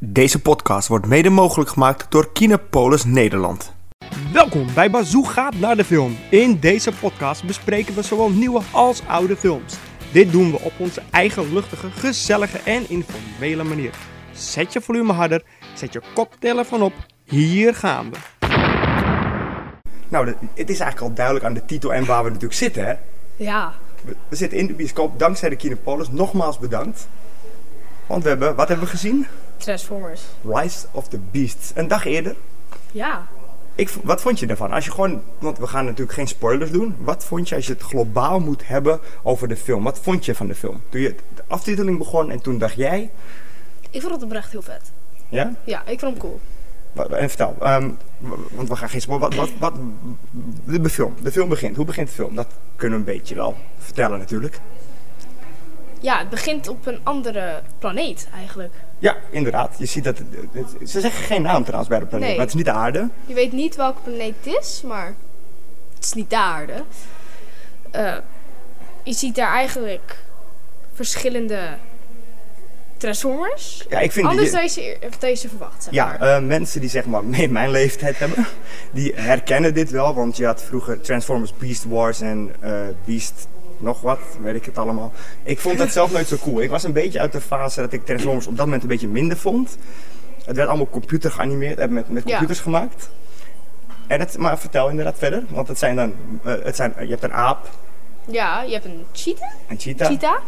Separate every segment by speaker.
Speaker 1: Deze podcast wordt mede mogelijk gemaakt door Kinepolis Nederland.
Speaker 2: Welkom bij Bazoo gaat naar de film. In deze podcast bespreken we zowel nieuwe als oude films. Dit doen we op onze eigen luchtige, gezellige en informele manier. Zet je volume harder, zet je koptelefoon op. Hier gaan we.
Speaker 1: Nou, de- het is eigenlijk al duidelijk aan de titel en waar we natuurlijk zitten. Hè?
Speaker 3: Ja,
Speaker 1: We, we zitten in de bioscoop dankzij de Kinepolis. Nogmaals bedankt. Want we hebben, wat hebben we gezien?
Speaker 3: Transformers.
Speaker 1: Rise of the Beasts. Een dag eerder.
Speaker 3: Ja.
Speaker 1: Ik, v- wat vond je daarvan? Als je gewoon, want we gaan natuurlijk geen spoilers doen. Wat vond je als je het globaal moet hebben over de film? Wat vond je van de film? Toen je de aftiteling begon en toen dacht jij.
Speaker 3: Ik vond het oprecht heel vet.
Speaker 1: Ja?
Speaker 3: Ja, ik vond hem cool.
Speaker 1: Wa- wa- En vertel, ehm, wa- want we gaan geen spoor. Wat, wat, wat, de be- film, de film begint. Hoe begint de film? Dat kunnen we een beetje wel vertellen natuurlijk.
Speaker 3: Ja, het begint op een andere planeet eigenlijk.
Speaker 1: Ja, inderdaad. Je ziet dat. het- het- ze zeggen geen naam trouwens bij de planeet,
Speaker 3: Nee.
Speaker 1: maar het is niet de aarde.
Speaker 3: Je weet niet welke planeet het is, maar het is niet de aarde. Eh, je ziet daar eigenlijk verschillende Transformers.
Speaker 1: Ja, ik vind
Speaker 3: Anders
Speaker 1: die,
Speaker 3: dan je ze eer- dan je ze verwacht, zeg
Speaker 1: ja,
Speaker 3: maar.
Speaker 1: eh, mensen die zeg maar mee mijn leeftijd hebben, die herkennen dit wel. Want je had vroeger Transformers Beast Wars en eh, Beast nog wat, weet ik het allemaal. Ik vond dat zelf nooit zo cool. Ik was een beetje uit de fase dat ik Transformers op dat moment een beetje minder vond. Het werd allemaal computer geanimeerd, eh, met, met
Speaker 3: Ja.
Speaker 1: computers gemaakt. En het, maar vertel inderdaad verder, want het zijn dan, eh, het zijn, je hebt een aap,
Speaker 3: Ja, je hebt een cheetah,
Speaker 1: een cheetah,
Speaker 3: cheetah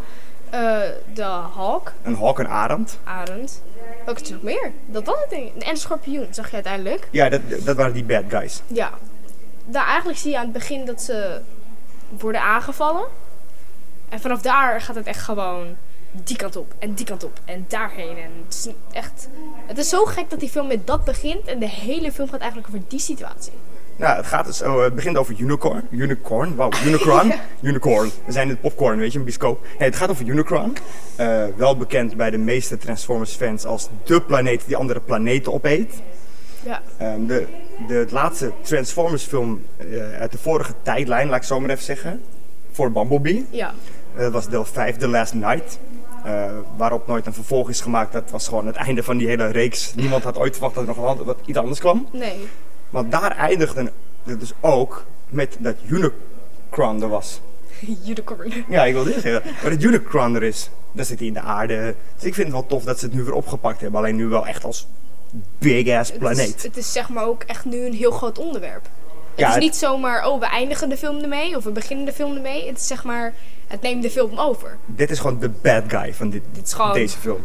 Speaker 3: eh, de hawk,
Speaker 1: een hawk, een arend.
Speaker 3: arend. Welke is er nog meer? Dat was het ding. En een schorpioen, zag je uiteindelijk.
Speaker 1: Ja, dat, dat waren die bad guys.
Speaker 3: Ja. Daar eigenlijk zie je aan het begin dat ze worden aangevallen. En vanaf daar gaat het echt gewoon die kant op en die kant op en daarheen. En het is echt... Het is zo gek dat die film met dat begint en de hele film gaat eigenlijk over die situatie.
Speaker 1: Nou, het gaat dus, oh, het begint over unicorn. Unicorn, wauw, unicorn. Unicorn. We zijn in het popcorn, weet je, een biscoop. Nee, het gaat over unicorn. Eh, wel bekend bij de meeste Transformers fans als de planeet die andere planeten opeet.
Speaker 3: Ja.
Speaker 1: Ehm, de, de laatste Transformers film eh, uit de vorige tijdlijn, laat ik zo maar even zeggen. Voor Bumblebee.
Speaker 3: Ja.
Speaker 1: Eh, Dat was deel 5, The Last Night. eh, waarop nooit een vervolg is gemaakt. Dat was gewoon het einde van die hele reeks. Niemand had ooit verwacht dat er nog wat- wat iets anders kwam.
Speaker 3: Nee.
Speaker 1: Want daar eindigde het dus ook met dat Unicron er was.
Speaker 3: Unicorn.
Speaker 1: Ja, ik wil dit zeggen. Maar dat Unicron er is, dat zit hij in de aarde. Dus ik vind het wel tof dat ze het nu weer opgepakt hebben. Alleen nu wel echt als big ass
Speaker 3: Het is,
Speaker 1: planeet.
Speaker 3: het is zeg maar ook echt nu een heel groot onderwerp. Het
Speaker 1: Ja,
Speaker 3: is
Speaker 1: het-
Speaker 3: niet zomaar, oh we eindigen de film ermee of we beginnen de film ermee. Het is zeg maar, het neemt de film over.
Speaker 1: Dit is gewoon de bad guy van dit,
Speaker 3: Dit is gewoon-
Speaker 1: deze film.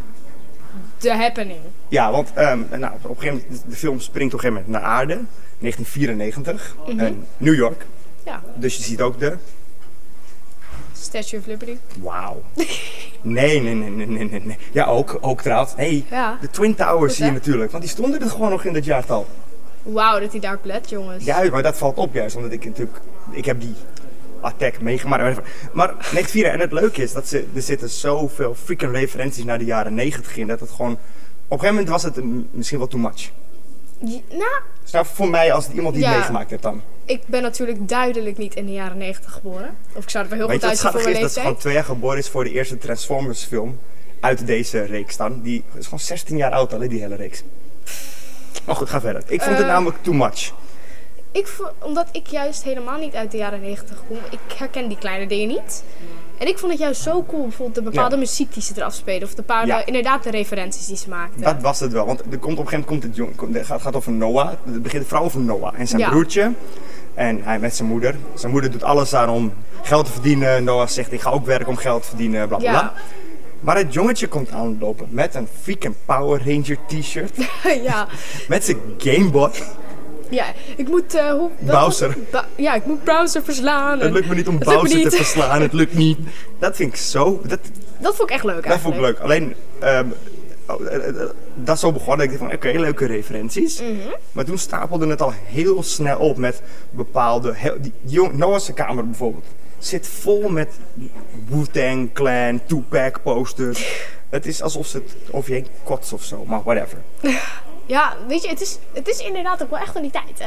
Speaker 3: The happening.
Speaker 1: Ja, want ehm, nou, op een gegeven moment, de film springt op een gegeven moment naar aarde. 1994.
Speaker 3: Mhm.
Speaker 1: en New York.
Speaker 3: Ja.
Speaker 1: Dus je ziet ook de...
Speaker 3: Statue of Liberty.
Speaker 1: Wauw. Nee, nee, nee, nee, nee, nee, nee. Ja, ook, ook trouwens. Hey,
Speaker 3: Ja.
Speaker 1: de Twin Towers
Speaker 3: Goed,
Speaker 1: zie je
Speaker 3: hè?
Speaker 1: natuurlijk. Want die stonden er gewoon nog in dat jaartal.
Speaker 3: Wauw, dat hij daar plet, jongens.
Speaker 1: Ja, maar dat valt op juist, omdat ik natuurlijk, ik heb die attack meegemaakt. whatever. Maar 94, en het leuke is dat ze, er zitten zoveel freaking referenties naar de jaren 90 in, dat het gewoon, op een gegeven moment was het een- misschien wel too much.
Speaker 3: Je- nou,
Speaker 1: Dus nou, voor mij als iemand die het
Speaker 3: Ja.
Speaker 1: meegemaakt heeft dan.
Speaker 3: ik ben natuurlijk duidelijk niet in de jaren 90 geboren. Of ik zou er wel heel
Speaker 1: Weet je
Speaker 3: goed
Speaker 1: wat
Speaker 3: uitzien voor
Speaker 1: schattig
Speaker 3: mijn
Speaker 1: is? Dat ze gewoon
Speaker 3: leeftijd.
Speaker 1: twee jaar geboren is voor de eerste Transformers film uit deze reeks dan. Die is gewoon 16 jaar oud al, hè, die hele reeks. Maar goed, ga verder. Ik vond het
Speaker 3: Eh.
Speaker 1: namelijk too much.
Speaker 3: Ik, vo- omdat ik juist helemaal niet uit de jaren 90 kom. Ik herken die kleine dingen niet. En ik vond het juist zo cool, bijvoorbeeld de bepaalde muziek die ze eraf spelen. Of de bepaalde,
Speaker 1: Ja.
Speaker 3: inderdaad, de referenties die ze maakten.
Speaker 1: Dat was het wel, want er komt op een gegeven moment komt het jong, komt- het gaat, gaat over Noah. Het begint vooral over Noah en zijn
Speaker 3: Ja.
Speaker 1: broertje. En hij met zijn moeder. Zijn moeder doet alles aan om geld te verdienen. Noah zegt, ik ga ook werken om geld te verdienen, bla bla
Speaker 3: Ja.
Speaker 1: bla. Maar het jongetje komt aanlopen met een freaking Power Ranger t-shirt.
Speaker 3: ja.
Speaker 1: met zijn Game Boy.
Speaker 3: ja, ik moet... eh, hoe, wat
Speaker 1: Bowser.
Speaker 3: was het? Ba- ja, ik moet Bowser verslaan.
Speaker 1: Het
Speaker 3: en-
Speaker 1: lukt me niet om
Speaker 3: Het lukt me
Speaker 1: Bowser te
Speaker 3: niet.
Speaker 1: verslaan, het lukt niet. Dat vind ik zo, dat,
Speaker 3: Dat vond ik echt leuk
Speaker 1: dat vond ik
Speaker 3: eigenlijk.
Speaker 1: leuk. Alleen, ehm, oh, eh, eh, dat is zo begonnen. Ik dacht van, oké, leuke referenties.
Speaker 3: Mhm.
Speaker 1: Maar toen stapelde het al heel snel op met bepaalde... Heel, die, die jong, Noah's kamer bijvoorbeeld zit vol met Wu-Tang Clan, Tupac posters. het is alsof ze het over je heen kotst of zo, maar whatever.
Speaker 3: Ja, weet je, het is, het is inderdaad ook wel echt van die tijd, hè?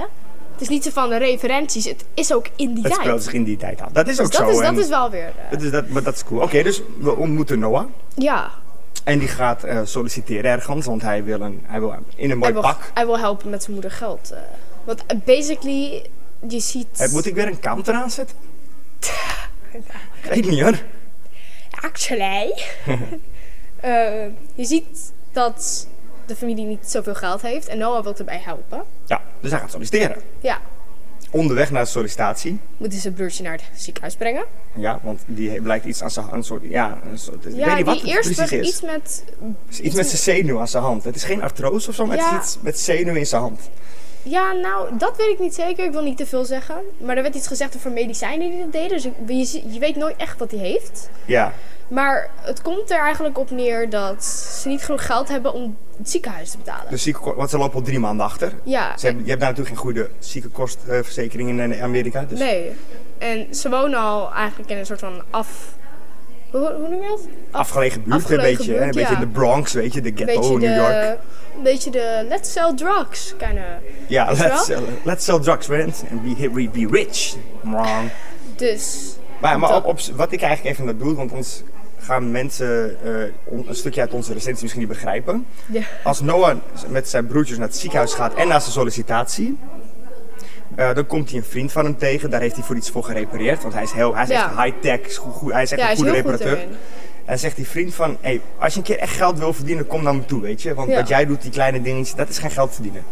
Speaker 3: Het is niet zo van de referenties, het is ook in die
Speaker 1: Het
Speaker 3: tijd.
Speaker 1: speelt zich in die tijd af. Dat is ook
Speaker 3: Dus dat,
Speaker 1: zo.
Speaker 3: is, dat
Speaker 1: en
Speaker 3: is wel weer. eh,
Speaker 1: dat is dat, maar dat is cool. Oké, dus we ontmoeten Noah.
Speaker 3: ja.
Speaker 1: En die gaat eh, solliciteren ergens, want hij wil, een, hij wil in een mooi
Speaker 3: Hij wil,
Speaker 1: pak.
Speaker 3: hij wil helpen met zijn moeder geld. eh. want eh, basically, je ziet...
Speaker 1: Eh, moet ik weer een counter aanzetten? Ik weet niet hoor.
Speaker 3: Actually. Eh, je ziet dat de familie niet zoveel geld heeft en Noah wil erbij helpen.
Speaker 1: Ja, dus hij gaat solliciteren.
Speaker 3: Ja,
Speaker 1: Onderweg naar de sollicitatie.
Speaker 3: moeten ze broertje naar het ziekenhuis brengen.
Speaker 1: Ja, want die he- blijkt iets aan zijn hand. Een soort, ja, een soort, ik weet
Speaker 3: ja,
Speaker 1: niet wat
Speaker 3: die
Speaker 1: het
Speaker 3: eerst
Speaker 1: precies
Speaker 3: werd
Speaker 1: is.
Speaker 3: iets met...
Speaker 1: Iets, met zijn zenuw aan zijn hand. Het is geen artrose of zo, maar het
Speaker 3: Ja.
Speaker 1: is iets met zenuw in zijn hand.
Speaker 3: Ja, nou, dat weet ik niet zeker. Ik wil niet te veel zeggen. Maar er werd iets gezegd over medicijnen die dat deden. Dus ik- je, zie- je weet nooit echt wat hij heeft.
Speaker 1: Ja,
Speaker 3: Maar het komt er eigenlijk op neer dat ze niet genoeg geld hebben om het ziekenhuis te betalen.
Speaker 1: dus zieke, want ze lopen al drie maanden achter.
Speaker 3: ja,
Speaker 1: Ze hebben, je hebt daar natuurlijk geen goede ziekenkostverzekering in eh, Amerika. Dus
Speaker 3: Nee. En ze wonen al eigenlijk in een soort van af... Hoe, hoe noem je dat?
Speaker 1: afgelegen buurt
Speaker 3: afgelegen
Speaker 1: een beetje. hè,
Speaker 3: buurt,
Speaker 1: een beetje
Speaker 3: ja.
Speaker 1: in de Bronx, weet je. De
Speaker 3: Een
Speaker 1: ghetto
Speaker 3: beetje
Speaker 1: in Oh, New York.
Speaker 3: de... Een beetje de let's sell drugs, kinda.
Speaker 1: Ja,
Speaker 3: Weet je
Speaker 1: let's,
Speaker 3: wel?
Speaker 1: sell- let's sell drugs, man. And be, we be rich. Wrong.
Speaker 3: Dus...
Speaker 1: Maar, maar
Speaker 3: Dat-
Speaker 1: op, op, wat ik eigenlijk even bedoel, want ons gaan mensen eh, on- een stukje uit onze recensie misschien niet begrijpen.
Speaker 3: Ja.
Speaker 1: Als Noah met zijn broertjes naar het ziekenhuis gaat en naar zijn sollicitatie, eh, dan komt hij een vriend van hem tegen. Daar heeft hij voor iets voor gerepareerd, want hij is, heel, hij is
Speaker 3: Ja.
Speaker 1: echt high-tech, is goed, goed- hij is echt
Speaker 3: Ja, hij
Speaker 1: een
Speaker 3: is
Speaker 1: goede
Speaker 3: heel goed
Speaker 1: reparateur.
Speaker 3: erin.
Speaker 1: en zegt die vriend van, hey, als je een keer echt geld wil verdienen, kom naar me toe, weet je. Want
Speaker 3: Ja.
Speaker 1: wat jij doet, die kleine dingetjes, dat is geen geld verdienen.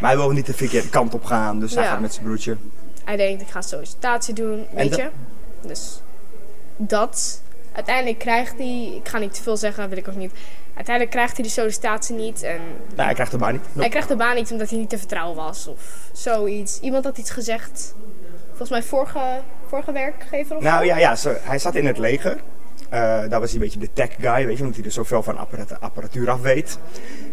Speaker 1: Maar hij wil niet de verkeerde kant op gaan, dus hij
Speaker 3: Ja.
Speaker 1: gaat met zijn broertje.
Speaker 3: Hij denkt, ik ga sollicitatie doen, weet
Speaker 1: dat-
Speaker 3: je. Dus dat. Uiteindelijk krijgt hij... Ik ga niet te veel zeggen, wil ik ook niet. Uiteindelijk krijgt hij de sollicitatie niet en...
Speaker 1: Nou, hij krijgt de baan niet.
Speaker 3: Hij krijgt de baan niet omdat hij niet te vertrouwen was of zoiets. Iemand had iets gezegd. Volgens mij vorige, vorige werkgever of
Speaker 1: Nou
Speaker 3: zo.
Speaker 1: ja, ja zo- hij zat in het leger. Eh, daar was hij een beetje de tech guy, weet je, omdat hij er zoveel van apparatu- apparatuur af weet.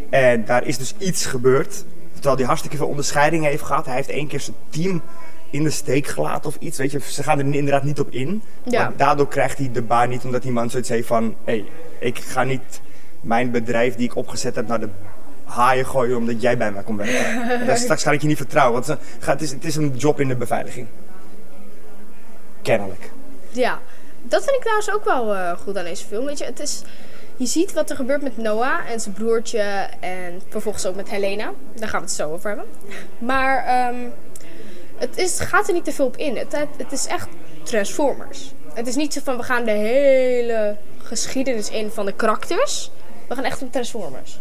Speaker 1: En daar is dus iets gebeurd. Terwijl hij hartstikke veel onderscheidingen heeft gehad. Hij heeft één keer zijn team in de steek gelaten of iets. Weet je, ze gaan er ni- inderdaad niet op in.
Speaker 3: Ja.
Speaker 1: Maar daardoor krijgt hij de baan niet, omdat die man zoiets heeft van: hé, hey, ik ga niet mijn bedrijf die ik opgezet heb naar de haaien gooien omdat jij bij mij komt werken. En dan straks ga ik je niet vertrouwen, want ze- ga- het is, het is een job in de beveiliging. Kennelijk.
Speaker 3: Ja, dat vind ik trouwens ook wel eh, goed aan deze film. Weet je, het is, je ziet wat er gebeurt met Noah en zijn broertje en vervolgens ook met Helena. Daar gaan we het zo over hebben. Maar ehm, het is, gaat er niet te veel op in. Het, het, het is echt Transformers. Het is niet zo van we gaan de hele geschiedenis in van de karakters. We gaan echt op Transformers.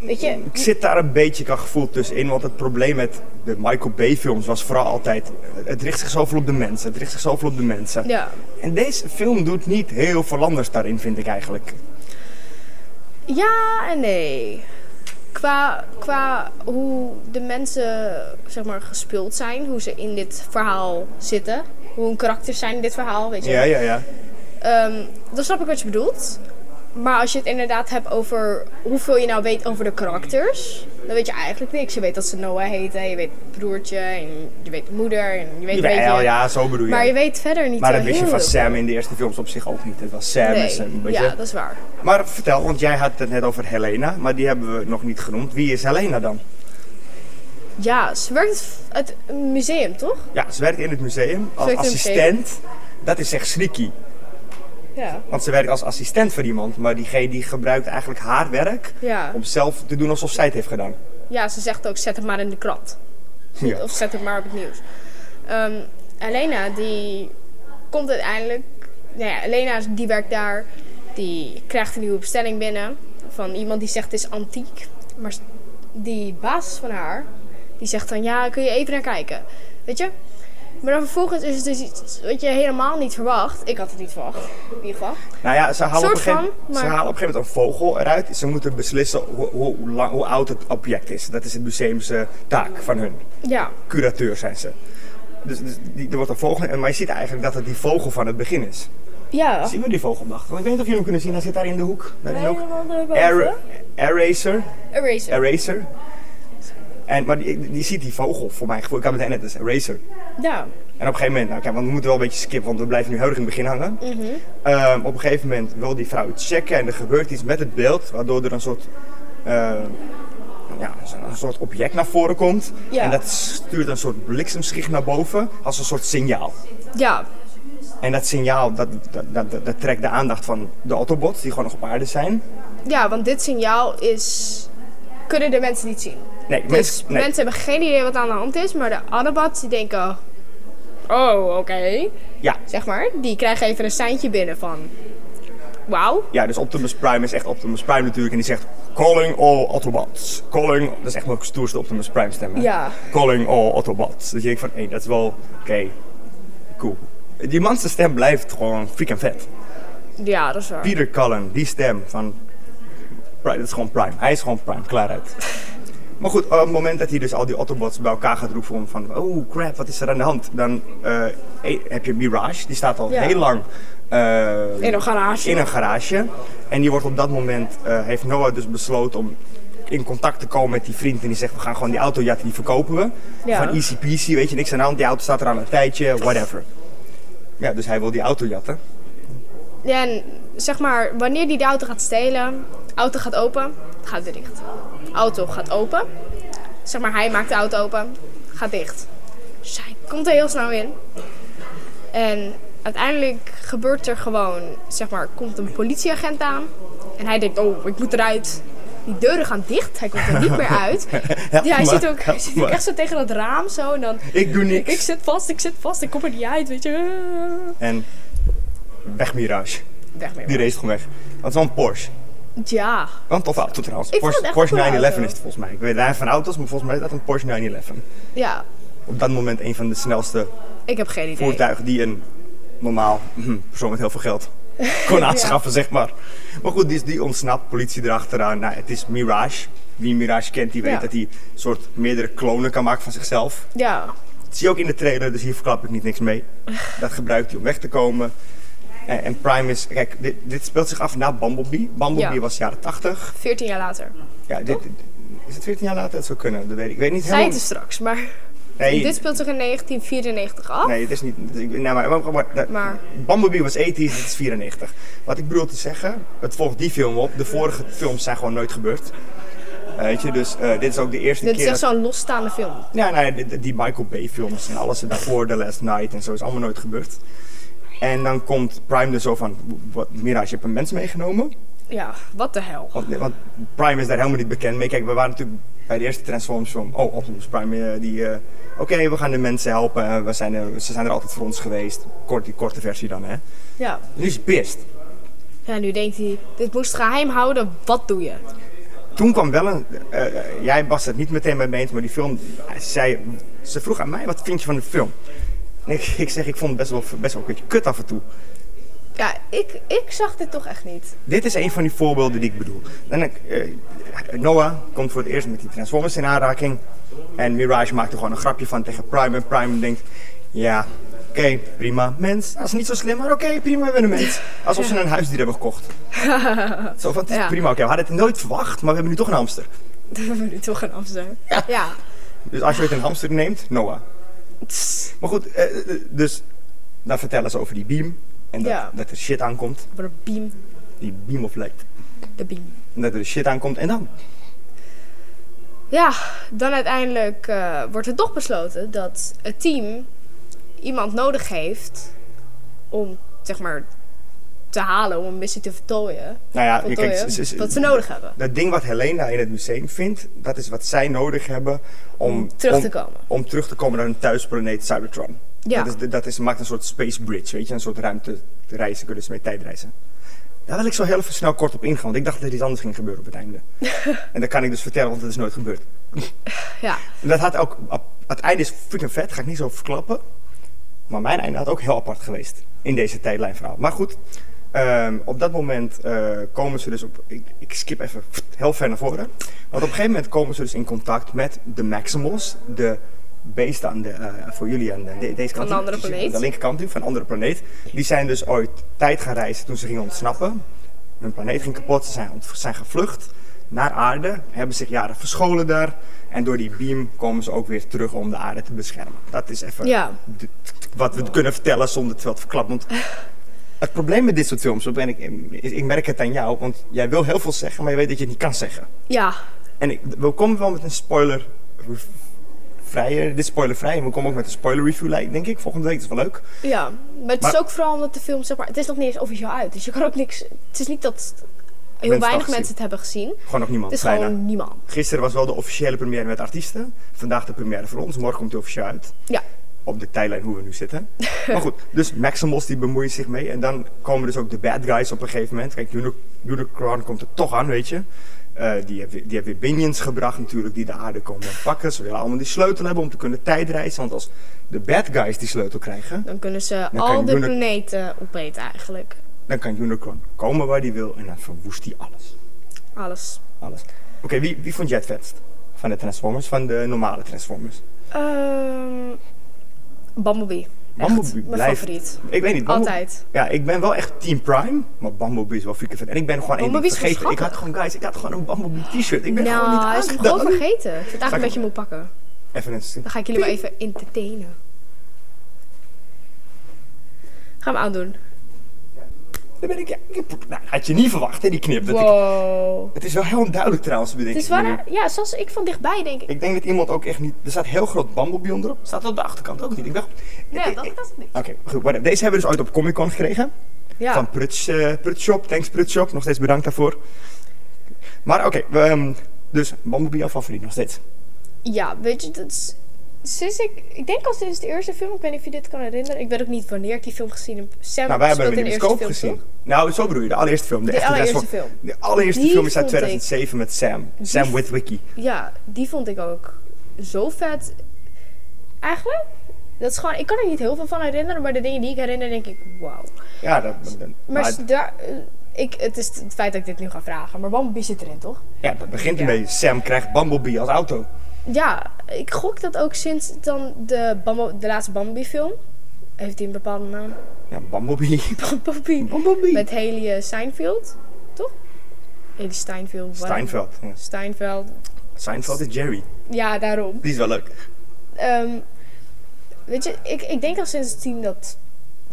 Speaker 3: Weet je,
Speaker 1: Ik zit daar een beetje qua gevoel tussenin, want het probleem met de Michael Bay films was vooral altijd, het richt zich zoveel op de mensen, het richt zich zoveel op de mensen.
Speaker 3: ja.
Speaker 1: En deze film doet niet heel veel anders daarin, vind ik eigenlijk.
Speaker 3: Ja en nee. Qua, qua hoe de mensen zeg maar, gespeeld zijn, hoe ze in dit verhaal zitten, hoe hun karakters zijn in dit verhaal, weet je.
Speaker 1: Ja, ja, ja.
Speaker 3: Ehm, dan snap ik wat je bedoelt. Maar als je het inderdaad hebt over hoeveel je nou weet over de karakters, dan weet je eigenlijk niks. Je weet dat ze Noah heten, je weet broertje, en je weet moeder, en je weet een
Speaker 1: Jawel,
Speaker 3: beetje-
Speaker 1: ja, zo bedoel je.
Speaker 3: Maar je weet verder niet
Speaker 1: Maar
Speaker 3: zo
Speaker 1: dat wist je
Speaker 3: heel
Speaker 1: van
Speaker 3: veel.
Speaker 1: Sam in de eerste films op zich ook niet. Het was Sam en
Speaker 3: Nee,
Speaker 1: Sam, weet
Speaker 3: ja,
Speaker 1: je.
Speaker 3: dat is waar.
Speaker 1: Maar vertel, want jij had het net over Helena, maar die hebben we nog niet genoemd. Wie is Helena dan?
Speaker 3: Ja, ze werkt uit een museum, toch?
Speaker 1: Ja, ze werkt in het museum als
Speaker 3: werkt in het museum.
Speaker 1: assistent. Dat is echt sneaky.
Speaker 3: Ja.
Speaker 1: Want ze werkt als assistent voor iemand, maar diegene die gebruikt eigenlijk haar werk
Speaker 3: Ja.
Speaker 1: om zelf te doen alsof zij het heeft gedaan.
Speaker 3: Ja, ze zegt ook zet het maar in de krant.
Speaker 1: Ja.
Speaker 3: Of zet het maar op het nieuws. Ehm, Elena die komt uiteindelijk... Nou ja, Elena die werkt daar. Die krijgt een nieuwe bestelling binnen. Van iemand die zegt het is antiek. Maar s- die baas van haar, die zegt dan ja, kun je even naar kijken. Weet je? Maar dan vervolgens is het dus iets wat je helemaal niet verwacht. Ik had het niet verwacht, in ieder geval.
Speaker 1: Nou ja, ze halen, op een
Speaker 3: Soort
Speaker 1: gegeven,
Speaker 3: van,
Speaker 1: ze
Speaker 3: maar-
Speaker 1: halen op een gegeven moment een vogel eruit. Ze moeten beslissen hoe, hoe, hoe lang, hoe oud het object is. Dat is het museumse taak van hun.
Speaker 3: Ja,
Speaker 1: Curateur zijn ze. Dus, dus die, er wordt een vogel, en- maar je ziet eigenlijk dat het die vogel van het begin is.
Speaker 3: ja.
Speaker 1: Zien we die vogel vandaag? Want ik weet niet of jullie hem kunnen zien, hij zit daar in de hoek. Daar in de hoek. Air, eraser,
Speaker 3: Eraser.
Speaker 1: eraser. En, maar die, die ziet die vogel, voor mijn gevoel. Ik had het net, dat is eraser.
Speaker 3: Ja.
Speaker 1: En op een gegeven moment, nou kijk, want we moeten wel een beetje skippen, want we blijven nu heel erg in het begin hangen.
Speaker 3: Mhm.
Speaker 1: Ehm, op een gegeven moment wil die vrouw iets checken en er gebeurt iets met het beeld, waardoor er een soort, ehm, ja, zo- een soort object naar voren komt.
Speaker 3: Ja.
Speaker 1: En dat stuurt een soort bliksemschicht naar boven als een soort signaal.
Speaker 3: Ja.
Speaker 1: En dat signaal, dat, dat, dat, dat- dat trekt de aandacht van de Autobots, die gewoon nog op aarde zijn.
Speaker 3: Ja, want dit signaal is... Kunnen de mensen niet zien.
Speaker 1: Nee,
Speaker 3: Dus
Speaker 1: mensen, nee.
Speaker 3: mensen hebben geen idee wat aan de hand is, maar de Autobots die denken... Oh, oké.
Speaker 1: Ja.
Speaker 3: Zeg maar, die krijgen even een seintje binnen van... Wauw.
Speaker 1: ja, dus Optimus Prime is echt Optimus Prime natuurlijk. En die zegt, calling all Autobots. Calling, dat is echt mijn stoerste Optimus Prime stem. hè?
Speaker 3: Ja.
Speaker 1: Calling all Autobots. Dat je denkt van, hé, dat is wel, oké, cool. Die man zijn stem blijft gewoon freaking vet.
Speaker 3: Ja, dat is waar.
Speaker 1: Peter Cullen, die stem van. Prime, dat is gewoon Prime. Hij is gewoon Prime, klaar uit. Maar goed, op het moment dat hij dus al die Autobots bij elkaar gaat roepen om van, oh crap, wat is er aan de hand? Dan eh, e- heb je Mirage, die staat al
Speaker 3: Ja.
Speaker 1: heel lang eh,
Speaker 3: In een garage.
Speaker 1: in een garage. En die wordt op dat moment, eh, heeft Noah dus besloten om in contact te komen met die vriend. En die zegt, we gaan gewoon die auto jatten, die verkopen we.
Speaker 3: Ja.
Speaker 1: Van ECPC, weet je, niks aan de hand. Die auto staat er aan een tijdje, whatever. Ja, dus hij wil die auto jatten.
Speaker 3: En zeg maar, wanneer die de auto gaat stelen, auto gaat open, gaat weer dicht. Auto gaat open, zeg maar, hij maakt de auto open, gaat dicht. Zij komt er heel snel in. En uiteindelijk gebeurt er gewoon, zeg maar, komt een politieagent aan. En hij denkt, oh, ik moet eruit. Die deuren gaan dicht, hij komt er niet meer uit.
Speaker 1: Help
Speaker 3: Ja, hij
Speaker 1: me,
Speaker 3: zit ook, hij
Speaker 1: help
Speaker 3: zit
Speaker 1: me.
Speaker 3: ook echt zo tegen dat raam zo. En dan,
Speaker 1: Ik doe niks.
Speaker 3: ik zit vast, ik zit vast, ik kom er niet uit, weet je.
Speaker 1: En weg Mirage.
Speaker 3: Weg mee.
Speaker 1: Die race gewoon weg. Dat is wel een Porsche.
Speaker 3: Ja.
Speaker 1: Wel een toffe auto trouwens.
Speaker 3: Ik vond
Speaker 1: Porsche,
Speaker 3: het echt
Speaker 1: Porsche
Speaker 3: een coole
Speaker 1: 911 is
Speaker 3: auto.
Speaker 1: het volgens mij. Ik weet daar van auto's, maar volgens mij is dat een Porsche 911.
Speaker 3: Ja,
Speaker 1: Op dat moment een van de snelste
Speaker 3: ik heb geen idee.
Speaker 1: voertuigen die een normaal hm, persoon met heel veel geld kon aanschaffen, zeg maar. Maar goed, die, is- die ontsnapt, politie erachteraan. Nou, het is Mirage. Wie Mirage kent, die weet
Speaker 3: Ja.
Speaker 1: dat hij soort meerdere klonen kan maken van zichzelf.
Speaker 3: Ja,
Speaker 1: Dat zie je ook in de trailer, dus hier verklap ik niet niks mee. Dat gebruikt hij om weg te komen. En, en Prime is, kijk, dit, dit speelt zich af na Bumblebee. Bumblebee
Speaker 3: Ja.
Speaker 1: was jaren 80.
Speaker 3: 14 jaar later.
Speaker 1: Ja, dit, dit- is het 14 jaar later? Het zou kunnen, dat weet ik. Ik weet niet
Speaker 3: Zij
Speaker 1: helemaal.
Speaker 3: het er straks, maar
Speaker 1: nee,
Speaker 3: dit speelt zich in 1994 af.
Speaker 1: nee, het is niet. ik- Nee, maar, maar, maar- dat-
Speaker 3: Maar
Speaker 1: Bumblebee was 80, dit is 94. Wat ik bedoel te zeggen, het volgt die film op. De vorige films zijn gewoon nooit gebeurd. Eh, weet je, dus eh, dit is ook de eerste
Speaker 3: dit is
Speaker 1: keer.
Speaker 3: echt
Speaker 1: dat-
Speaker 3: zo'n losstaande film.
Speaker 1: Ja, nee, die- die Michael Bay films en alles daarvoor, The Last Night en zo, is allemaal nooit gebeurd. En dan komt Prime er zo van, wat, Mirage, je hebt een mens meegenomen?
Speaker 3: Ja, wat de hel.
Speaker 1: Want, want Prime is daar helemaal niet bekend mee. Kijk, we waren natuurlijk bij de eerste Transformers film, oh, Optimus Prime, eh, die, eh, oké, we gaan de mensen helpen, eh, we zijn er, ze zijn er altijd voor ons geweest. Kort, die korte versie dan, hè.
Speaker 3: Ja.
Speaker 1: Nu is hij pist.
Speaker 3: ja, nu denkt hij, dit moest geheim houden, wat doe je?
Speaker 1: Toen kwam wel een. eh, eh, jij was het niet meteen met me eens, maar die film. eh, Zij, ze vroeg aan mij: wat vind je van de film? En ik, ik zeg: ik vond het best wel, best wel een beetje kut af en toe.
Speaker 3: Ja, ik, ik zag dit toch echt niet.
Speaker 1: Dit is een van die voorbeelden die ik bedoel. En, ik, eh, Noah komt voor het eerst met die Transformers in aanraking. En Mirage maakt er gewoon een grapje van tegen Prime. En Prime denkt: ja, oké, prima. Mens, dat is niet zo slim, maar oké, prima, we hebben een mens. Alsof ze een huisdier hebben gekocht. zo van: het is
Speaker 3: Ja.
Speaker 1: prima, oké, we hadden het nooit verwacht, maar we hebben nu toch een hamster.
Speaker 3: We hebben nu toch een afzet. Ja. ja.
Speaker 1: Dus als je het een hamster neemt, Noah.
Speaker 3: Tss,
Speaker 1: Maar goed, eh, eh, dus dan vertellen ze over die beam. En dat,
Speaker 3: Ja.
Speaker 1: dat er shit aankomt.
Speaker 3: Wat een beam.
Speaker 1: Die beam of light.
Speaker 3: De beam.
Speaker 1: En dat er shit aankomt. En dan?
Speaker 3: Ja, dan uiteindelijk eh, wordt er toch besloten dat het team iemand nodig heeft om, zeg maar, te halen, om een missie te voltooien.
Speaker 1: Nou ja, je
Speaker 3: voltooien,
Speaker 1: kijkt, ze- ze-
Speaker 3: wat ze nodig hebben.
Speaker 1: Dat ding wat Helena in het museum vindt, dat is wat zij nodig hebben om...
Speaker 3: Terug
Speaker 1: om-
Speaker 3: te komen.
Speaker 1: Om terug te komen naar hun thuisplaneet Cybertron.
Speaker 3: Ja.
Speaker 1: Dat, is, de- dat is, maakt een soort space bridge, weet je. Een soort ruimtereizen, kunnen ze mee tijdreizen. Daar wil ik zo heel even snel kort op ingaan, want ik dacht dat er iets anders ging gebeuren op het einde. en dat kan ik dus vertellen, want het is nooit gebeurd.
Speaker 3: Ja.
Speaker 1: En dat had ook. ap- Het einde is freaking vet, ga ik niet zo verklappen. Maar mijn einde had ook heel apart geweest in deze tijdlijnverhaal. Maar goed, ehm, op dat moment eh, komen ze dus op. Ik, ik skip even heel ver naar voren. Want op een gegeven moment komen ze dus in contact met de Maximals, de beesten aan de, eh, voor jullie aan de- de- deze kant.
Speaker 3: Van de
Speaker 1: hier,
Speaker 3: andere
Speaker 1: die-
Speaker 3: planeet.
Speaker 1: De linkerkant nu, van een andere planeet. Die zijn dus ooit tijd gaan reizen toen ze gingen ontsnappen. Hun planeet ging kapot, ze zijn, ont- zijn gevlucht naar aarde, hebben zich jaren verscholen daar. En door die beam komen ze ook weer terug om de aarde te beschermen. Dat is even
Speaker 3: Ja.
Speaker 1: de- wat we kunnen vertellen zonder te veel te verklappen. Want het probleem met dit soort films, ben ik, is- ik merk het aan jou, want jij wil heel veel zeggen, maar je weet dat je het niet kan zeggen.
Speaker 3: Ja.
Speaker 1: En ik, we komen wel met een spoiler vrije, dit is spoilervrij, en we komen ook met een spoiler review, like, denk ik, volgende week. Dat is wel leuk.
Speaker 3: Ja, maar het is
Speaker 1: Maar-
Speaker 3: ook vooral omdat de film, zeg maar, het is nog niet eens officieel uit. Dus je kan ook niks. Het is niet dat Heel
Speaker 1: het al
Speaker 3: weinig
Speaker 1: gezien.
Speaker 3: mensen het hebben gezien.
Speaker 1: Gewoon nog niemand,
Speaker 3: Het is
Speaker 1: bijna.
Speaker 3: gewoon niemand.
Speaker 1: Gisteren was wel de officiële première met artiesten. Vandaag de première voor ons. Morgen komt hij officieel uit.
Speaker 3: Ja.
Speaker 1: Op de tijdlijn hoe we nu zitten. maar goed, dus Maximals die bemoeit zich mee. En dan komen dus ook de bad guys op een gegeven moment. Kijk, Uni- Unicron komt er toch aan, weet je. Eh, die, hebben, die hebben weer Binions gebracht natuurlijk, die de aarde komen pakken. Ze willen allemaal die sleutel hebben om te kunnen tijdreizen. Want als de bad guys die sleutel krijgen,
Speaker 3: Dan kunnen ze
Speaker 1: Dan kan
Speaker 3: al
Speaker 1: je
Speaker 3: de
Speaker 1: doen dat-
Speaker 3: planeten opeten eigenlijk.
Speaker 1: dan kan Unicron komen waar hij wil. En dan verwoest hij alles.
Speaker 3: Alles.
Speaker 1: alles. Oké, wie, wie vond jij het vetst? Van de Transformers, van de normale Transformers?
Speaker 3: Ehm Bumblebee.
Speaker 1: Bumblebee
Speaker 3: Echt, mijn
Speaker 1: blijft-
Speaker 3: favoriet.
Speaker 1: Ik weet niet. Bumble-
Speaker 3: Altijd.
Speaker 1: Ja, ik ben wel echt Team Prime, maar Bumblebee is wel freaking vet. En ik ben gewoon één
Speaker 3: Bumblebee
Speaker 1: ding
Speaker 3: is wel
Speaker 1: vergeten. Ik had
Speaker 3: schattig.
Speaker 1: gewoon, guys, ik had gewoon een Bumblebee t-shirt. Ik ben
Speaker 3: nou,
Speaker 1: gewoon niet
Speaker 3: hij is hem gewoon
Speaker 1: aangedaan.
Speaker 3: vergeten. Ik vind het
Speaker 1: Ga ik-
Speaker 3: eigenlijk dat je moet pakken.
Speaker 1: Even een
Speaker 3: Dan ga ik jullie wel even entertainen. Ga hem aandoen.
Speaker 1: Daar ben ik, ja, ik heb- nou, had je niet verwacht, hè, die knip. Dat ik,
Speaker 3: Wow.
Speaker 1: het is wel heel duidelijk trouwens, bedenk
Speaker 3: Het is
Speaker 1: ik
Speaker 3: waar,
Speaker 1: nu.
Speaker 3: hè? ja, zoals ik van dichtbij denk ik.
Speaker 1: Ik denk dat iemand ook echt niet... Er staat heel groot Bumblebee onderop. Staat op de achterkant ook niet. Ik dacht...
Speaker 3: Nee,
Speaker 1: ik-
Speaker 3: dat
Speaker 1: ik-
Speaker 3: is het niet.
Speaker 1: Oké, goed. whatever. Deze hebben we dus ooit op Comic-Con gekregen.
Speaker 3: Ja.
Speaker 1: Van Pruts, eh, Prutshop. Thanks Prutshop. Nog steeds bedankt daarvoor. Maar oké, we, ehm, dus Bumblebee jouw favoriet nog steeds.
Speaker 3: Ja, weet je, dat is... Sinds ik, ik denk al sinds de eerste film, ik weet niet of je dit kan herinneren. Ik weet ook niet wanneer ik die film gezien heb. Sam
Speaker 1: Nou, wij hebben
Speaker 3: speelt
Speaker 1: hem in de bioscoop
Speaker 3: eerste film,
Speaker 1: gezien.
Speaker 3: toch?
Speaker 1: Nou, zo bedoel je, de allereerste film. De,
Speaker 3: De
Speaker 1: echte
Speaker 3: allereerste
Speaker 1: Transform-
Speaker 3: film.
Speaker 1: De allereerste
Speaker 3: Die
Speaker 1: film is uit
Speaker 3: vond ik-
Speaker 1: 2007 met Sam. Sam with Wiki.
Speaker 3: Ja, die vond ik ook zo vet. Eigenlijk, dat is gewoon, ik kan er niet heel veel van herinneren, maar de dingen die ik herinner, denk ik, wauw.
Speaker 1: Ja, dat, dat- dat-
Speaker 3: Maar,
Speaker 1: maar-
Speaker 3: s- daar, eh, ik, het is het feit dat ik dit nu ga vragen, maar Bambi zit erin, toch?
Speaker 1: ja, dat begint
Speaker 3: Ja.
Speaker 1: ermee. Sam krijgt Bumblebee als auto.
Speaker 3: Ja, ik gok dat ook sinds dan de, Bambo, de laatste Bambi-film. Heeft hij een bepaalde naam?
Speaker 1: Ja, Bumblebee.
Speaker 3: Bambi.
Speaker 1: Bumblebee.
Speaker 3: Met Haley eh, Steinfeld, toch? Haley Steinfeld. wat-
Speaker 1: Steinfeld. Ja.
Speaker 3: Steinfeld.
Speaker 1: Steinfeld is Jerry.
Speaker 3: Ja, daarom.
Speaker 1: Die is wel leuk.
Speaker 3: Ehm, weet je, ik, ik denk al sinds het team dat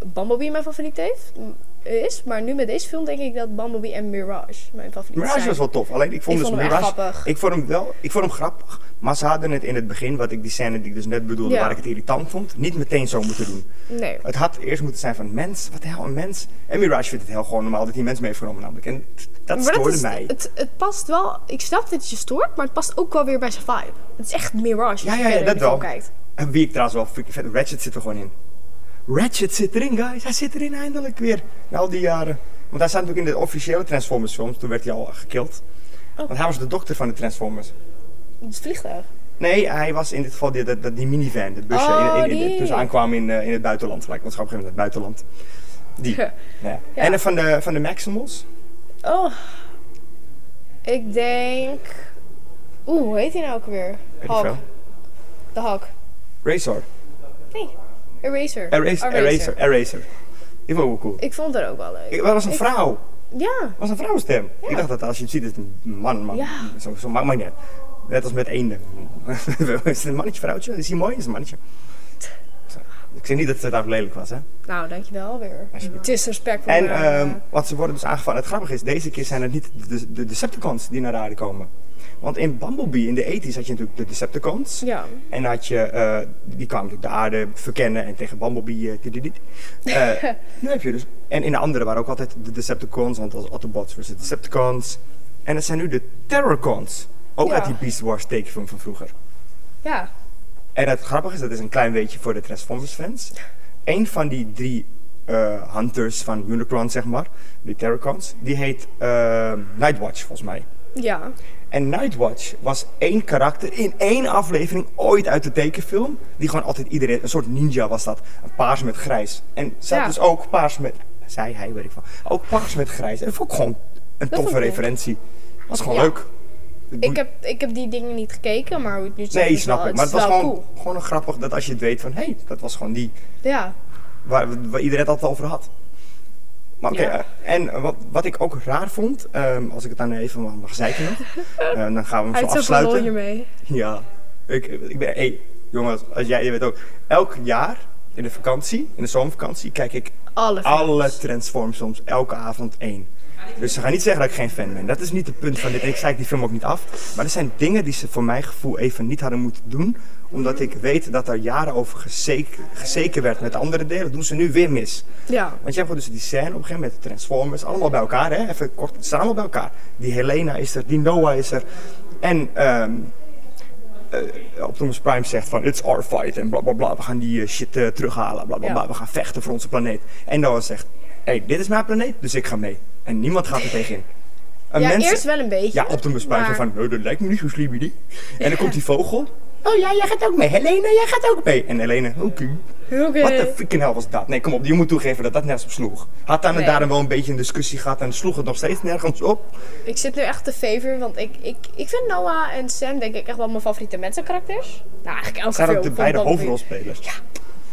Speaker 3: Bumblebee mijn favoriet heeft, m- is. Maar nu met deze film denk ik dat Bumblebee en Mirage mijn favoriet
Speaker 1: Mirage
Speaker 3: zijn.
Speaker 1: was wel tof. Alleen ik vond,
Speaker 3: Ik
Speaker 1: dus
Speaker 3: vond hem echt
Speaker 1: Mirage...
Speaker 3: grappig.
Speaker 1: Ik vond hem wel... Ik vond hem grappig. Maar ze hadden het in het begin, wat ik die scène die ik dus net bedoelde,
Speaker 3: Ja.
Speaker 1: waar ik het irritant vond, niet meteen zo moeten doen.
Speaker 3: Nee.
Speaker 1: Het had eerst moeten zijn van mens, wat de hel, een mens. En Mirage vindt het heel gewoon normaal dat hij mens mee heeft genomen namelijk. En t- dat
Speaker 3: maar
Speaker 1: stoorde
Speaker 3: dat is,
Speaker 1: mij.
Speaker 3: Het, het past wel, ik snap dat het je stoort, maar het past ook wel weer bij zijn vibe. Het is echt Mirage als
Speaker 1: Ja,
Speaker 3: je
Speaker 1: ja, ja,
Speaker 3: verder in
Speaker 1: dat
Speaker 3: de film
Speaker 1: wel.
Speaker 3: kijkt.
Speaker 1: En wie ik trouwens wel freaking vet... Ratchet zit er gewoon in. Ratchet zit erin, guys. Hij zit erin eindelijk weer. Na al die jaren. Want hij staat natuurlijk in de officiële Transformers films. Toen werd hij al eh, gekild.
Speaker 3: Oh.
Speaker 1: Want hij was de dokter van de Transformers.
Speaker 3: Het vliegtuig.
Speaker 1: Nee, hij was in dit geval die, dat- dat- die minivan. Dat busje
Speaker 3: Oh,
Speaker 1: in, in, in-
Speaker 3: die.
Speaker 1: toen ze aankwamen in, eh, in het buitenland. Gelijk, want ze gaan op een gegeven moment naar het buitenland. Die. Ja. En eh, van de, van de Maximals.
Speaker 3: Oh. Ik denk... Oeh, hoe heet hij nou ook weer?
Speaker 1: Weet ik
Speaker 3: Hawk.
Speaker 1: veel.
Speaker 3: De Hawk.
Speaker 1: Razor.
Speaker 3: Nee, Eraser.
Speaker 1: Eraser. Eraser. Eraser. Die vond ik wel cool.
Speaker 3: Ik vond dat ook wel leuk.
Speaker 1: Ik, dat was een vrouw.
Speaker 3: Ja.
Speaker 1: was een vrouwenstem. Ik dacht dat als je het ziet, is het een man. man.
Speaker 3: Ja.
Speaker 1: Zo, zo maakt mij niet uit. Net als met eenden. is het een mannetje, vrouwtje? Is hij mooi? Is het een mannetje? Zo. Ik zeg niet dat het daar lelijk was, hè?
Speaker 3: Nou, dankjewel weer. Het is respectvol.
Speaker 1: En
Speaker 3: maar,
Speaker 1: ehm, want ze worden dus aangevallen. Het grappige is, deze keer zijn het niet de, de Decepticons die naar de aarde komen. Want in Bumblebee in de 80s had je natuurlijk de Decepticons.
Speaker 3: ja.
Speaker 1: En had je, eh, die kwamen natuurlijk de aarde verkennen en tegen Bumblebee. eh, dit, dit, dit. Eh, nu heb je dus. En in de andere waren ook altijd de Decepticons, want als Autobots versus Decepticons. En dat zijn nu de Terrorcons. Ook
Speaker 3: Ja.
Speaker 1: uit die Beast Wars tekenfilm van vroeger.
Speaker 3: Ja.
Speaker 1: En het grappige is, dat is een klein weetje voor de Transformers fans. Eén van die drie eh, hunters van Unicron, zeg maar, die Terrorcons, die heet eh, Nightwatch volgens mij.
Speaker 3: Ja.
Speaker 1: En Nightwatch was één karakter in één aflevering ooit uit de tekenfilm. Die gewoon altijd iedereen, een soort ninja was dat. Een paars met grijs. En ze had
Speaker 3: Ja.
Speaker 1: dus ook paars met, zij, hij, weet ik van. Ook paars met grijs. En dat vond ik gewoon een
Speaker 3: vond ik
Speaker 1: toffe
Speaker 3: cool.
Speaker 1: referentie. Was gewoon
Speaker 3: Ja.
Speaker 1: leuk.
Speaker 3: Ik heb, ik heb die dingen niet gekeken, maar hoe het nu zit,
Speaker 1: Nee,
Speaker 3: is
Speaker 1: snap
Speaker 3: wel-
Speaker 1: ik. Maar het was
Speaker 3: is wel
Speaker 1: gewoon,
Speaker 3: cool.
Speaker 1: gewoon een grappig dat als je het weet van... Hé, hey, dat was gewoon die
Speaker 3: Ja.
Speaker 1: waar, waar iedereen het altijd over had. Maar oké,
Speaker 3: Ja.
Speaker 1: eh, en wat, wat ik ook raar vond... ehm, als ik het dan even mag- mag zeiken nog... eh, dan gaan we
Speaker 3: Hij
Speaker 1: hem
Speaker 3: heeft
Speaker 1: zo
Speaker 3: zoveel
Speaker 1: afsluiten.
Speaker 3: lol hiermee.
Speaker 1: Ja, ik, ik ben. Hey, jongens, als jij, je weet ook. Elk jaar in de vakantie, in de zomervakantie, kijk ik
Speaker 3: Alle films.
Speaker 1: alle Transformers soms elke avond één. Dus ze gaan niet zeggen dat ik geen fan ben. Dat is niet het punt van dit. En ik zei die film ook niet af. Maar er zijn dingen die ze voor mijn gevoel even niet hadden moeten doen. Omdat ik weet dat daar jaren over gezeken, gezeken werd met de andere delen. Dat doen ze nu weer mis.
Speaker 3: Ja.
Speaker 1: Want je hebt gewoon dus die scène op een gegeven moment, de Transformers, allemaal bij elkaar, hè? Even kort, ze zijn allemaal bij elkaar. Die Helena is er, die Noah is er. En ehm eh, Optimus Prime zegt van, it's our fight en bla bla bla, we gaan die eh, shit eh, terughalen, bla bla
Speaker 3: Ja.
Speaker 1: bla, we gaan vechten voor onze planeet. En Noah zegt, hey, dit is mijn planeet, dus ik ga mee. En niemand gaat er tegenin. Een
Speaker 3: Ja,
Speaker 1: mens-
Speaker 3: eerst wel een beetje.
Speaker 1: ja, Optimus Prime
Speaker 3: maar-
Speaker 1: zo van, nee, dat lijkt me niet zo slim idee. En dan komt die vogel. Oh ja, jij gaat ook mee. Helena, jij gaat ook mee. En Helena, oké.
Speaker 3: Oké.
Speaker 1: Wat de freaking hell was dat? Nee, kom op, je moet toegeven dat dat nergens op sloeg. Had daar en
Speaker 3: Nee.
Speaker 1: daarom wel een beetje een discussie gehad en sloeg het nog steeds nergens op.
Speaker 3: Ik zit nu echt te favor, want ik, ik, ik vind Noah en Sam denk ik echt wel mijn favoriete mensenkarakters. Nou, eigenlijk elke
Speaker 1: Zijn
Speaker 3: film
Speaker 1: ook de
Speaker 3: van
Speaker 1: beide
Speaker 3: Bambi.
Speaker 1: hoofdrolspelers.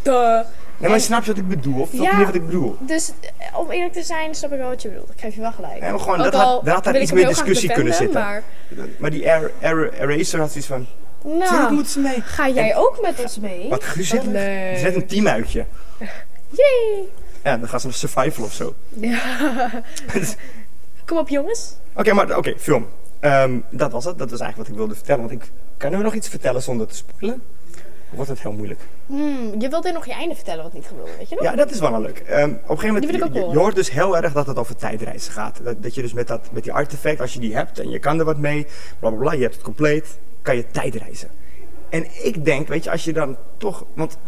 Speaker 3: Duh.
Speaker 1: Nee, maar snap je wat ik bedoel? Of snap je
Speaker 3: Ja.
Speaker 1: niet wat ik bedoel?
Speaker 3: Dus eh, om eerlijk te zijn, snap ik wel wat je bedoelt. Ik geef je wel gelijk.
Speaker 1: Nee, maar gewoon,
Speaker 3: Ook
Speaker 1: dat had-
Speaker 3: al
Speaker 1: daar had daar
Speaker 3: wil
Speaker 1: iets
Speaker 3: ik hem
Speaker 1: meer
Speaker 3: heel graag
Speaker 1: discussie kunnen
Speaker 3: defenden,
Speaker 1: Maar die er, er, Eraser had zoiets van,
Speaker 3: Maar,
Speaker 1: natuurlijk
Speaker 3: nou,
Speaker 1: moeten ze mee.
Speaker 3: ga jij ook met ons mee?
Speaker 1: Wat gezellig.
Speaker 3: leuk.
Speaker 1: Het is net een teamuitje.
Speaker 3: Yay!
Speaker 1: Ja, dan gaan ze naar survival of zo.
Speaker 3: Ja. Kom op jongens.
Speaker 1: Oké, maar oké, film. Ehm, dat was het. Dat was eigenlijk wat ik wilde vertellen. Want ik kan nu nog iets vertellen zonder te spoilen. Wordt het heel moeilijk.
Speaker 3: Hmm, je wilde nog je einde vertellen wat niet gebeurde, weet je nog?
Speaker 1: Ja, dat is wel een leuk. Ehm, op een gegeven moment,
Speaker 3: Die wil ik ook
Speaker 1: je- je,
Speaker 3: horen.
Speaker 1: je hoort dus heel erg dat het over tijdreizen gaat. Dat, dat je dus met, dat, met die artefact, als je die hebt en je kan er wat mee, bla bla bla, je hebt het compleet, kan je tijdreizen. En ik denk, weet je, als je dan toch, want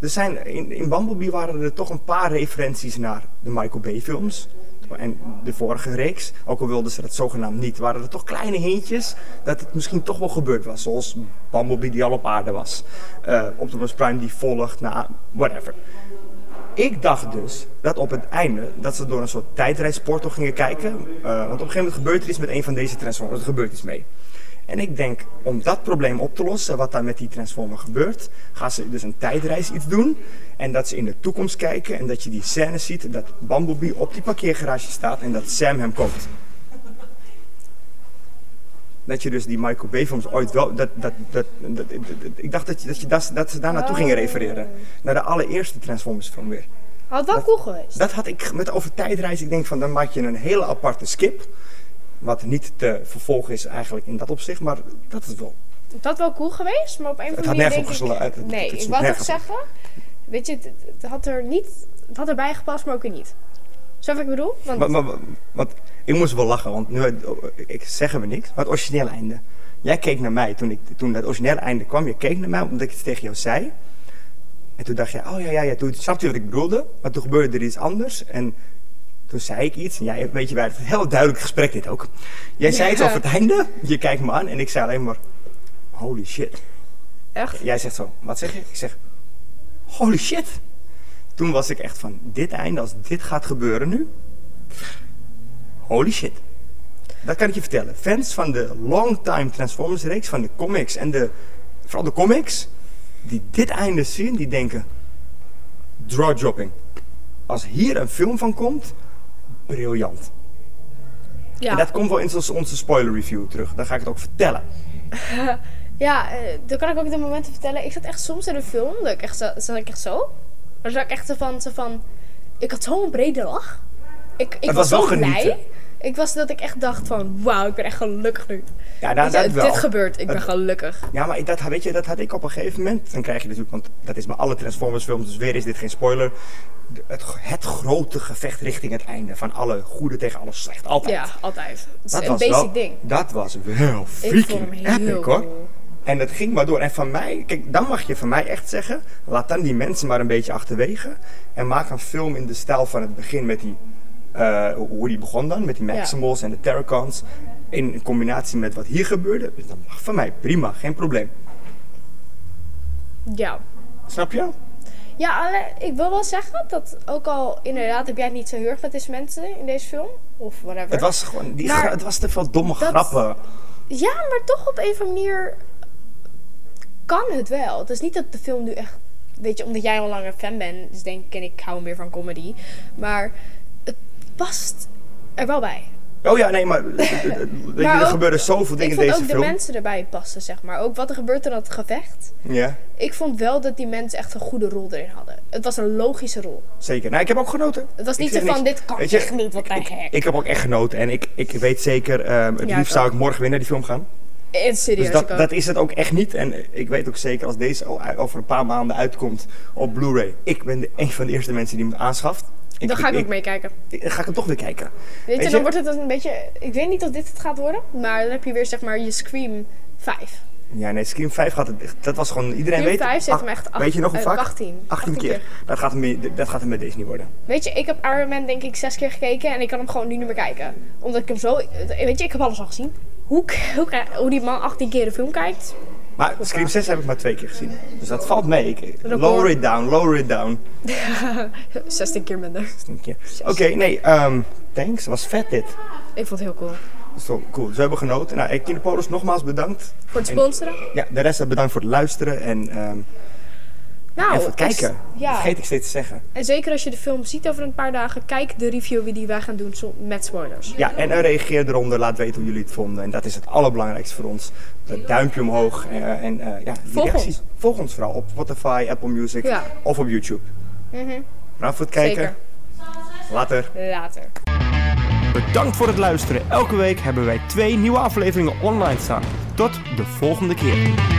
Speaker 1: er zijn, in, in Bumblebee waren er toch een paar referenties naar de Michael Bay films. En de vorige reeks, ook al wilden ze dat zogenaamd niet, waren er toch kleine hintjes dat het misschien toch wel gebeurd was. Zoals Bumblebee die al op aarde was. Eh Optimus Prime die volgt, na whatever. Ik dacht dus dat op het einde dat ze door een soort tijdreisportal gingen kijken. eh, want op een gegeven moment gebeurt er iets met een van deze Transformers. Er gebeurt iets mee. En ik denk, om dat probleem op te lossen, wat daar met die Transformer gebeurt, gaan ze dus een tijdreis iets doen. En dat ze in de toekomst kijken en dat je die scène ziet dat Bumblebee op die parkeergarage staat en dat Sam hem komt. Dat je dus die Michael Bay films ooit wel... Dat, dat, dat, dat- dat- dat- ik dacht dat, je, dat, je, dat, ze- dat ze daar naartoe gingen refereren. Naar de allereerste Transformers film weer.
Speaker 3: Had wel cool geweest.
Speaker 1: Dat had ik met over tijdreis. Ik denk van dan maak je een hele aparte skip. Wat niet te vervolgen is eigenlijk in dat opzicht. Maar dat is wel.
Speaker 3: Dat had wel cool geweest, maar op een of
Speaker 1: Het
Speaker 3: andere
Speaker 1: had
Speaker 3: manier
Speaker 1: nergens
Speaker 3: denk
Speaker 1: op
Speaker 3: ik...
Speaker 1: gesla- het- het-
Speaker 3: Nee,
Speaker 1: het
Speaker 3: ik
Speaker 1: sloeg
Speaker 3: wou toch
Speaker 1: nergens op.
Speaker 3: zeggen. Weet je, het, het had er niet... Het had erbij gepast, maar ook weer niet. Zo wat ik bedoel? Want
Speaker 1: Maar, maar, maar- want ik moest wel lachen. Want nu ik zeggen we niks. Maar het originele einde. Jij keek naar mij toen, ik, toen dat originele einde kwam. Je keek naar mij omdat ik het tegen jou zei. En toen dacht je, oh ja, ja, ja. Toen snapte je wat ik bedoelde. Maar toen gebeurde er iets anders. En toen zei ik iets. En jij, weet je, wij hadden een heel duidelijk gesprek dit ook. Jij zei iets
Speaker 3: Ja.
Speaker 1: over het einde. Je kijkt me aan. En ik zei alleen maar, holy shit.
Speaker 3: echt,
Speaker 1: Jij zegt zo, wat zeg je? Ik zeg, holy shit. Toen was ik echt van, dit einde, als dit gaat gebeuren nu. Holy shit. Dat kan ik je vertellen. Fans van de longtime Transformers reeks, van de comics en de, vooral de comics, die dit einde zien, die denken, drawdropping. Als hier een film van komt, briljant.
Speaker 3: ja.
Speaker 1: En dat komt wel in onze- onze spoiler review terug. Dan ga ik het ook vertellen.
Speaker 3: Ja, eh, dan kan ik ook de momenten vertellen. Ik zat echt soms in een film, dat ik echt, zo- zat ik echt zo. Maar zat ik echt zo van, zo van ik had zo'n brede lach. Ik, ik
Speaker 1: Het
Speaker 3: was
Speaker 1: was
Speaker 3: zo
Speaker 1: wel
Speaker 3: blij.
Speaker 1: genieten.
Speaker 3: Ik was dat ik echt dacht van, wauw, ik ben echt gelukkig nu.
Speaker 1: Ja, nou,
Speaker 3: Weet je,
Speaker 1: dat wel.
Speaker 3: dit gebeurt, ik ben
Speaker 1: Het-
Speaker 3: gelukkig.
Speaker 1: Ja, maar dat, weet je, dat had ik op een gegeven moment. Dan krijg je natuurlijk, want dat is bij alle Transformers films, dus weer is dit geen spoiler. De- Het, het grote gevecht richting het einde. Van alle goede tegen alles slecht. Altijd.
Speaker 3: Ja, altijd. Het is
Speaker 1: dat
Speaker 3: een
Speaker 1: was
Speaker 3: basic
Speaker 1: wel-
Speaker 3: ding.
Speaker 1: Dat was wel
Speaker 3: Ik vond hem
Speaker 1: freaking
Speaker 3: heel
Speaker 1: epic hoor.
Speaker 3: cool.
Speaker 1: En dat ging maar door. En van mij, kijk, dan mag je van mij echt zeggen, laat dan die mensen maar een beetje achterwege. En maak een film in de stijl van het begin met die, eh, hoe die begon dan, met die Maximals en de Terracons. In combinatie met wat hier gebeurde. Dus dat mag van mij, prima, geen probleem.
Speaker 3: Ja.
Speaker 1: Snap je?
Speaker 3: Ja, alleen, ik wil wel zeggen dat ook al inderdaad heb jij het niet zo heel erg met deze mensen in deze film. Of whatever.
Speaker 1: Het was gewoon, die
Speaker 3: Maar
Speaker 1: gra- het was te veel domme
Speaker 3: dat-
Speaker 1: grappen.
Speaker 3: Ja, maar toch op een of andere manier kan het wel. Het is niet dat de film nu echt. Weet je, omdat jij al langer fan bent, dus denk ik, en ik hou meer van comedy. Maar het past er wel bij.
Speaker 1: Oh ja, nee, maar, er
Speaker 3: ook-
Speaker 1: gebeuren zoveel dingen in
Speaker 3: Ik vond
Speaker 1: deze
Speaker 3: ook de
Speaker 1: film.
Speaker 3: mensen erbij passen, zeg maar. Ook wat er gebeurt in dat gevecht.
Speaker 1: Ja,
Speaker 3: Ik vond wel dat die mensen echt een goede rol erin hadden. Het was een logische rol.
Speaker 1: zeker. Nou, ik heb ook genoten.
Speaker 3: Het was
Speaker 1: Ik
Speaker 3: niet zo
Speaker 1: zeg
Speaker 3: van,
Speaker 1: niks.
Speaker 3: dit kan
Speaker 1: Weet je,
Speaker 3: echt niet, wat een gek.
Speaker 1: Ik heb ook echt genoten en ik, ik weet zeker, ehm, het
Speaker 3: Ja,
Speaker 1: liefst
Speaker 3: ik
Speaker 1: zou ik morgen weer naar die film gaan.
Speaker 3: In serieus,
Speaker 1: Dus
Speaker 3: ik
Speaker 1: dat,
Speaker 3: ook.
Speaker 1: dat is het ook echt niet. En eh, ik weet ook zeker, als deze al u- over een paar maanden uitkomt op Blu-ray, ik ben de, een van de eerste mensen die hem aanschaft.
Speaker 3: dan ga ik ook meekijken.
Speaker 1: ik- ga ik hem toch weer kijken.
Speaker 3: Weet je,
Speaker 1: je-
Speaker 3: dan wordt het een beetje... Ik weet niet of dit het gaat worden, maar dan heb je weer, zeg maar, je Scream 5.
Speaker 1: Ja, nee, Scream 5 gaat het. echt- Dat was gewoon. Iedereen
Speaker 3: Scream
Speaker 1: weet.
Speaker 3: 5 zet
Speaker 1: ach-
Speaker 3: hem echt... acht-
Speaker 1: Weet je nog hoe
Speaker 3: eh,
Speaker 1: vaak?
Speaker 3: 18.
Speaker 1: 18 keer. Dat gaat, hem, met- dat gaat hem met deze niet worden.
Speaker 3: Weet je, ik heb Iron Man denk ik zes keer gekeken en ik kan hem gewoon nu niet meer kijken. Omdat ik hem zo... Weet je, ik heb alles al gezien. Hoe, k- hoe, k- hoe die man 18 keer de film kijkt.
Speaker 1: Maar Scream 6 heb ik maar twee keer gezien. Dus dat valt mee. Ik,
Speaker 3: Record.
Speaker 1: lower it down, lower it down.
Speaker 3: 16 keer minder.
Speaker 1: Dat is een keer. Oké, nee, ehm, thanks. Was vet dit.
Speaker 3: Ik vond het heel cool.
Speaker 1: Dat is wel cool. Dus we hebben genoten. Nou, ik Kinderpolis nogmaals bedankt.
Speaker 3: Voor het
Speaker 1: En-
Speaker 3: sponsoren.
Speaker 1: Ja, de rest eh, bedankt voor het luisteren en, ehm
Speaker 3: Nou,
Speaker 1: en voor het
Speaker 3: als-
Speaker 1: kijken.
Speaker 3: ja.
Speaker 1: Dat vergeet ik steeds te zeggen.
Speaker 3: En zeker als je de film ziet over een paar dagen, kijk de review die wij gaan doen zo- met spoilers.
Speaker 1: Ja, en eh, reageer eronder. Laat weten hoe jullie het vonden. En dat is het allerbelangrijkste voor ons. Dat duimpje omhoog. eh, en eh, ja, die
Speaker 3: Volg
Speaker 1: reacties.
Speaker 3: ons.
Speaker 1: Volg ons vooral op Spotify, Apple Music
Speaker 3: Ja. Mhm.
Speaker 1: of op YouTube. Bedankt voor het kijken. Later.
Speaker 3: Zeker. Later.
Speaker 2: Bedankt voor het luisteren. Elke week hebben wij twee nieuwe afleveringen online staan. Tot de volgende keer.